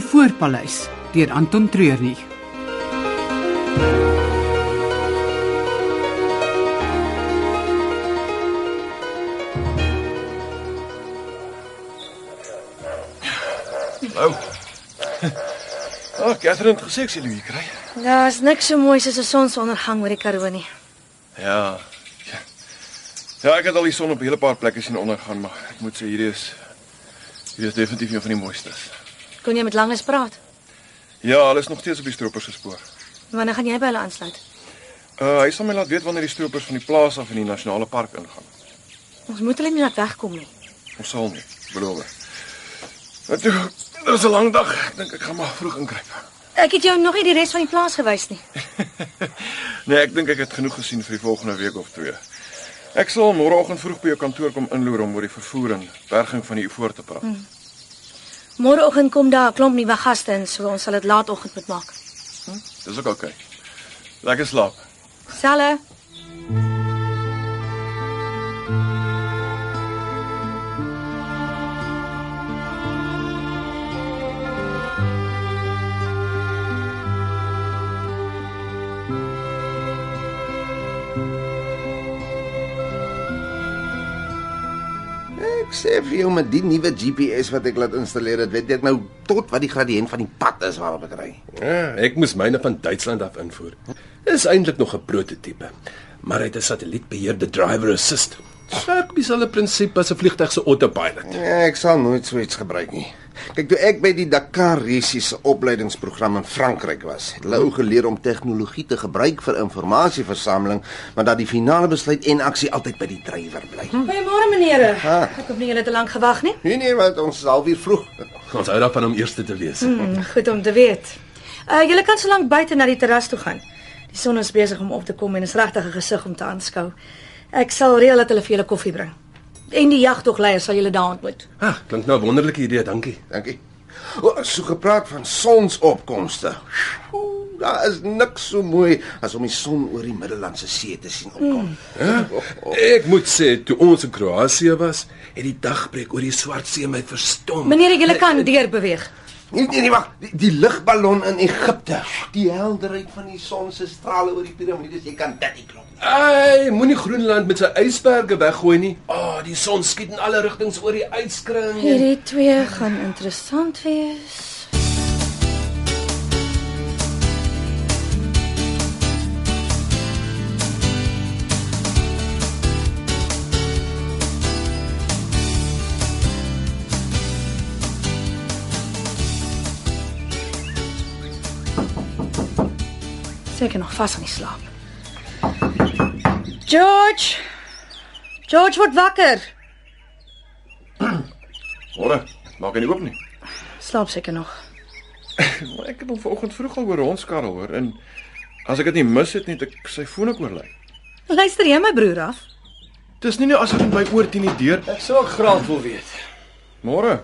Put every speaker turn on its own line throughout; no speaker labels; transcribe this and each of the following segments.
Spoorpaleis deur Anton Treurnig.
Nou. Ag, Ah, Catherine het gesê ek sê Louis kry.
Daar's niks so mooi soos 'n sonsondergang oor die Karoo nie.
Ja. ja. Ja, ek het al die son op 'n hele paar plekke sien ondergaan, maar ek moet sê hierdie is hierdie is definitief een van die mooistes.
Kon jy met Langes praat?
Ja, hulle is nog steeds op die stroopers se spoor.
Wanneer gaan jy by hulle aansluit?
Uh, hy sal my laat weet wanneer die stroopers van die plaas af in die nasionale park ingaan.
Ons moet hulle nie laat wegkom nie.
Ons sal nie, beloof. Wat toe, dit is 'n lang dag. Ek dink ek gaan maar vroeg inkruip.
Ek het jou nog nie die res van die plaas gewys nie.
Nee, ek dink ek het genoeg gesien vir die volgende week of twee. Ek sal môreoggend vroeg by jou kantoor kom inloer om oor die vervoer en berging van die voor te praat.
Môreoggend kom daar 'n klomp nuwe gaste in, so ons sal dit laatoggend moet maak.
Dis ook oukei. Lekker slaap.
Selle.
Ek sê vir jou met die nuwe GPS wat ek laat installeer het, weet ek nou tot wat die gradiënt van die pad is waarop ek ry.
Ja, ek moes myne van Duitsland af invoer. Is eintlik nog 'n prototipe, maar hy het 'n satellietbeheerde driver assist. Ek mis hulle prinsip as 'n vliegtuig se autopilot.
Ja, ek sal nooit so iets gebruik nie. Kyk, toe ek by die Dakar Racing se opleidingsprogram in Frankryk was, het hulle ou geleer om tegnologie te gebruik vir informasieversameling, maar dat die finale besluit en aksie altyd by die drywer bly.
Goeiemôre meneere. Ek hoop nie julle het te lank gewag nie.
Nee nee, want ons is halfuur vroeg.
Ons hou daarvan om eerste te wees. Hmm.
Hmm, goed om te weet. Uh julle kan so lank buite na die terras toe gaan. Die son is besig om op te kom en is regtig 'n gesig om te aanskou. Ek sal reël dat hulle vir julle koffie bring. En die jagtogleier sal julle daar ontmoet.
Ah, klink nou 'n wonderlike idee, dankie.
Dankie. O, er so gepraat van sonsopkomste. Oeh, Daar is niks so mooi as om die son oor die Middellandse See te sien opkom.
Ek moet sê toe ons in Kroasie was, het die dagbreek oor die Swart See my verstom.
Meneer, julle kan deur beweeg.
Nee nee nee wag, die, die ligballon in Egipte, die helderheid van die son se strale oor die piramides, jy kan dit nie klop nie.
Ai, moenie Groenland met sy ysberge weggooi nie. Ah, oh, die son skiet in alle rigtings oor die yskring.
Hierdie twee gaan interessant wees. Seker nog vas aan die slaap. George. George word wakker.
Môre. Maak hy nie oop nie.
Slaap seker nog.
Maar ek het hom vanoggend vroeg al oor hondskarrel hoor en as ek dit nie mis het nie, het ek sy foon ook oorlei.
Luister jy my broer af?
Dis nie nou asof dit my oor teen die deur.
Ek sou graag wil weet.
Môre.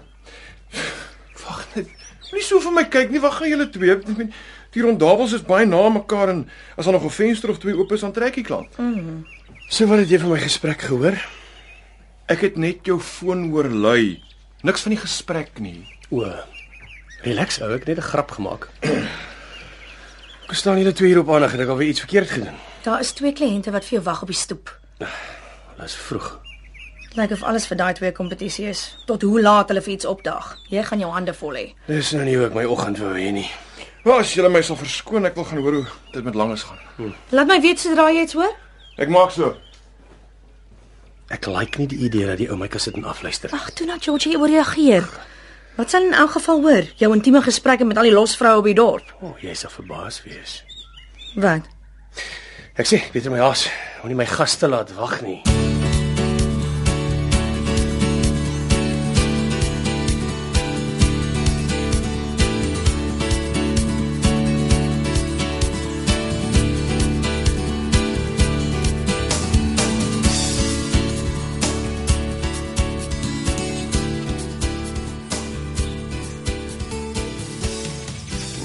Wag net. Moenie so vir my kyk nie. Wag gou julle twee. Ek meen, die rondabels is baie na mekaar en as daar nog 'n venster of twee oop is, dan trek ek klank.
Mhm. So wat het jy van my gesprek gehoor?
Ek het net jou foon hoor lui. Niks van die gesprek nie.
O. Relax, ou, ek het net 'n grap gemaak.
Ek staan julle twee hier op aandag en ek alweer iets verkeerd gedoen.
Daar is twee kliënte wat vir jou wag op die stoep.
Dis vroeg.
Lyk of alles vir daai twee kompetisie is. Tot hoe laat hulle vir iets opdaag. Jy gaan jou hande vol hê.
Dis nou nie hoe ek my oggend wou hê nie.
Ja, as julle my sal verskoon, ek wil gaan hoor hoe dit met Langes gaan.
Laat my weet sodra jy iets hoor.
Ek maak so.
Ek like nie die idee dat die ou my kan sit en afluister.
Ag, toe nou George jy ooreageer. Wat sal in elk geval hoor? Jou intieme gesprekke met al die losvroue op die dorp.
O, oh, jy sal verbaas wees.
Wat?
Ek sê, weet jy my haas, moenie my gaste laat wag nie.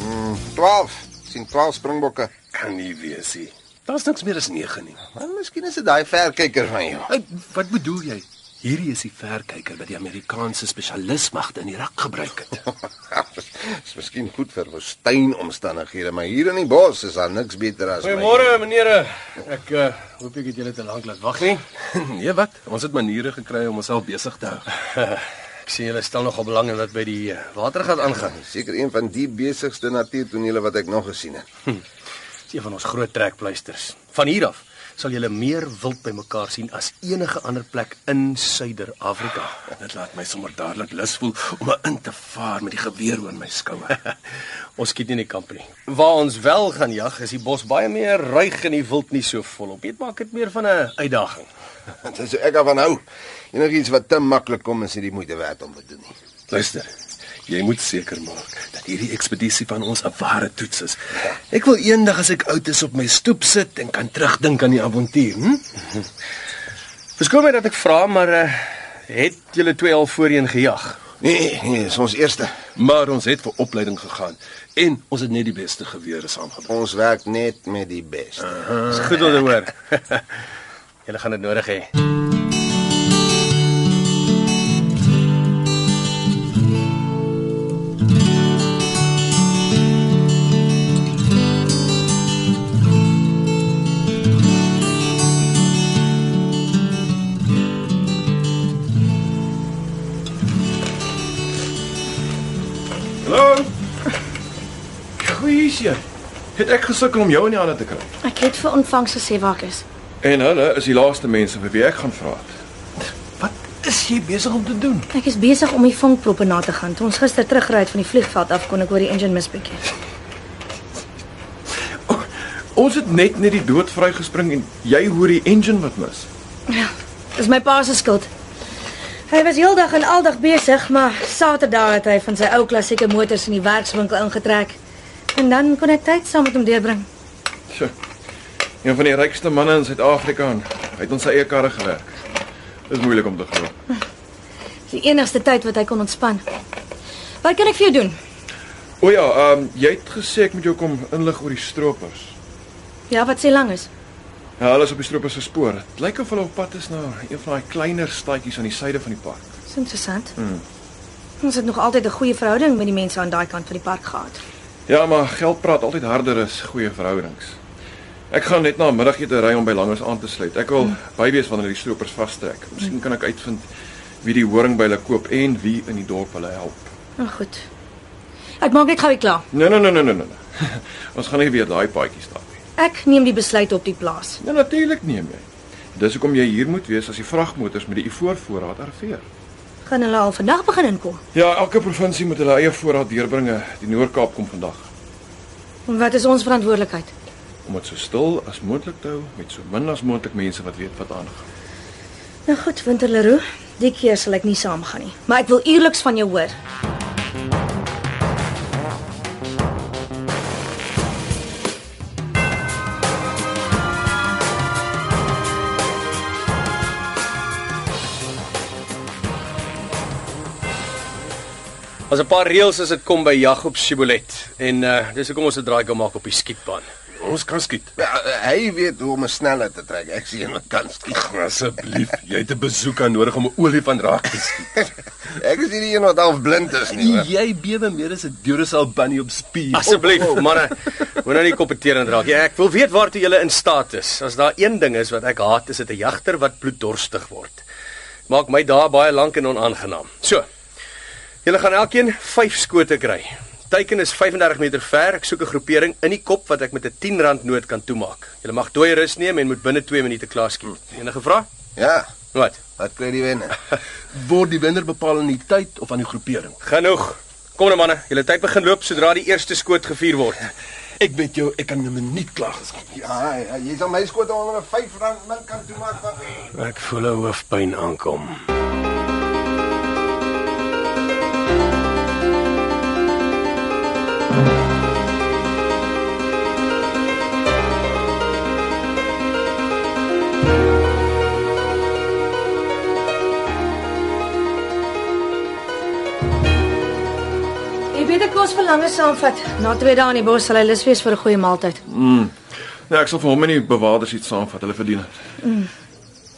Mm, 12, sien 12 springbokke.
Kan nie wees nie. Daar's niks meer as 9 nie.
Maar miskien is dit daai verkyker van jou.
Hey, wat bedoel jy? Hierdie is die verkyker wat die Amerikaanse spesialismagte in Irak gebruik het.
Dis miskien goed vir woestynomstandighede, maar hier in die bos is daar niks beter as my-
Goeiemôre menere. Ek uh, hoop ek het julle te lank laat wag nie.
nee, wat? Ons het maniere gekry om onsself besig te hou.
Ek sien julle stel nogal belang in wat by die eh, watergat aangaan.
Seker een van die besigste natuurtonele wat ek nog gesien het.
Dis een van ons groot trekpleisters. Van hier af sal julle meer wild bymekaar sien as enige ander plek in Suider-Afrika.
Dit laat my sommer dadelik lus voel om 'n in te vaar met die geweer oor my skouer.
ons skiet nie in die kamp nie. Waar ons wel gaan jag, is die bos baie meer ruig en die wild nie so volop. Dit maak dit meer van 'n uitdaging.
Dit is hoe ek daarvan hou. Enigiets wat te maklik kom is nie die moeite werd om te doen nie.
Luister. Jy moet seker maak dat hierdie ekspedisie van ons 'n ware toets is. Ek wil eendag as ek oud is op my stoep sit en kan terugdink aan die avontuur, hm?
Verskoon my dat ek vra, maar uh, het julle twee al voorheen gejag?
Nee, nee, dis ons eerste.
Maar ons het vir opleiding gegaan en ons het net die beste gewere saamgebring.
Ons werk net met die beste.
Dis goed om te hoor. Julle gaan dit nodig hê.
Hallo. Goeie. Het ek gesukkel om jou in die hande te kry.
Ek het vir ontvangs gesê waar ek is.
En hulle is die laaste mense vir wie ek gaan vra.
Wat is jy besig om te doen?
Ek is besig om die vonkproppe na te gaan. Toe ons gister teruggery het van die vliegveld af, kon ek oor die engine mis bietjie.
Ons het net net die dood vrygespring en jy hoor die engine wat mis.
Ja, dis my pa se skuld. Hy was heeldag en aldag besig, maar Saterdag het hy van sy ou klassieke motors in die werkswinkel ingetrek. En dan kon ek tyd saam met hom deurbring.
Sjoe. Een van die rykste manne in Suid-Afrika en hy het ons sy eie karre gewerk. Dis moeilik om te glo.
Dis die enigste tyd wat hy kon ontspan. Wat kan ek vir jou doen?
O ja, ehm um, jy het gesê ek moet jou kom inlig oor die stroopers.
Ja, wat sê lank is?
Ja, hulle is op die stroopers se spoor. Dit lyk of hulle op pad is na een van daai kleiner stadjies aan die suide van die park.
Dis interessant. Hmm. Ons het nog altyd 'n goeie verhouding met die mense aan daai kant van die park gehad.
Ja, maar geld praat altyd harder as goeie verhoudings. Ek gaan net na 'n middagete ry om by Langers aan te sluit. Ek wil by wees wanneer die stroopers vastrek. Miskien kan ek uitvind wie die horing by hulle koop en wie in die dorp hulle help.
Nou goed. Ek maak net gou weer klaar.
Nee, nee, nee, nee, nee, nee. nee. Ons gaan nie weer daai paadjie stap nie.
Ek neem die besluit op die plaas.
Ja, natuurlik neem jy. Dis hoekom jy hier moet wees as die vragmotors met die ivoorvoorraad arriveer.
Gaan hulle al vandag begin inkom?
Ja, elke provinsie moet hulle eie voorraad deurbringe. Die Noord-Kaap kom vandag
En wat is ons verantwoordelikheid?
om dit so stil as moontlik te hou met so min as moontlik mense wat weet wat aangaan.
Nou goed, Winter Leroux, die keer sal ek nie saamgaan nie, maar ek wil eerliks van jou hoor.
Ons 'n paar reëls as dit kom by jag op Sibolet en uh dis hoekom ons 'n draai gaan maak op die skietbaan.
Ons kan skiet.
Ja, eh, hy weet hoe om 'n sneller te trek. Ek sien wat kan skiet.
Asseblief, jy het 'n besoek aan nodig om 'n olifant raak te skiet.
Ek is nie die een wat half blind is nie. hoor.
jy bewe meer as 'n Duracell bunny op spier.
Asseblief, manne, moenie nou nie kompeterend raak nie. Ek wil weet waartoe julle in staat is. As daar een ding is wat ek haat, is dit 'n jagter wat bloeddorstig word. Maak my dae baie lank en onaangenaam. So. Julle gaan elkeen 5 skote kry. Teiken is 35 meter ver. Ek soek 'n groepering in die kop wat ek met 'n R10 noot kan toemaak. Julle mag dooi rus neem en moet binne 2 minute klaar skiet. Enige vrae?
Ja,
Wat?
wat kry die wenner?
Word die wenner bepaal aan die tyd of aan die groepering?
Genoeg. Kom nou manne, julle tyd begin loop sodra die eerste skoot gevier word.
Ek weet jou, ek kan in 'n minuut klaar geskiet.
Ja, ja, jy sal my skoot onder 'n R5 min kan toe maak van my.
Ek voel 'n hoofpyn aankom.
Jy weet ek kos verlange saamvat. Na 2 dae in die bos sal hy lus wees vir 'n goeie maaltyd.
Ja, Nee, ek sal vir hom en die bewaarders iets saamvat. Hulle verdien dit.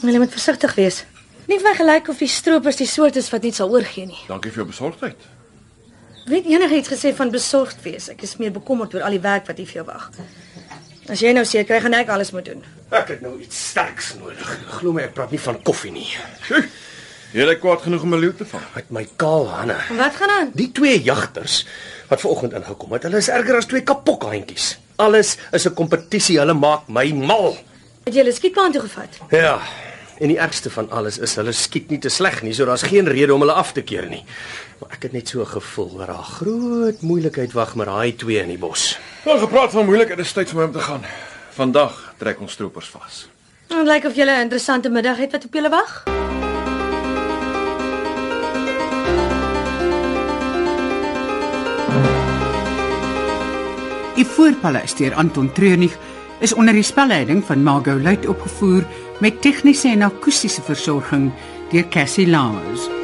Jy moet versigtig wees. Nie vergelyk of die stroopers die soort is wat nie sal oorgee nie.
Dankie vir jou besorgdheid.
Weet enigiets gesê van besorgd wees. Ek is meer bekommerd oor al die werk wat hier vir jou wag. As jy nou seker kry, gaan ek alles moet doen.
Ek het nou iets sterks nodig. Glo my, ek praat nie van koffie nie.
Jy lyk kwaad genoeg om 'n leeu te vang.
Met my kaal hande.
En wat gaan aan?
Die twee jagters wat ver oggend ingekom het, hulle is erger as twee kapokhandjies. Alles is 'n kompetisie, hulle maak my mal.
Het jy hulle skietbaan toe gevat?
Ja. En die ergste van alles is hulle skiet nie te sleg nie, so daar's geen rede om hulle af te keer nie. Maar ek het net so 'n gevoel dat daar groot moeilikheid wag met daai twee in die bos.
Nou gepraat van moeilikheid, dit is tyd vir my om te gaan. Vandag trek ons troepers vas.
En lyk like of jy 'n interessante middag het wat op julle wag.
Die Voorpaleis deur Anton Treurnig is onder die spelleiding van Margot Luit opgevoer met tegniese en akoestiese versorging deur Cassie Lawrence.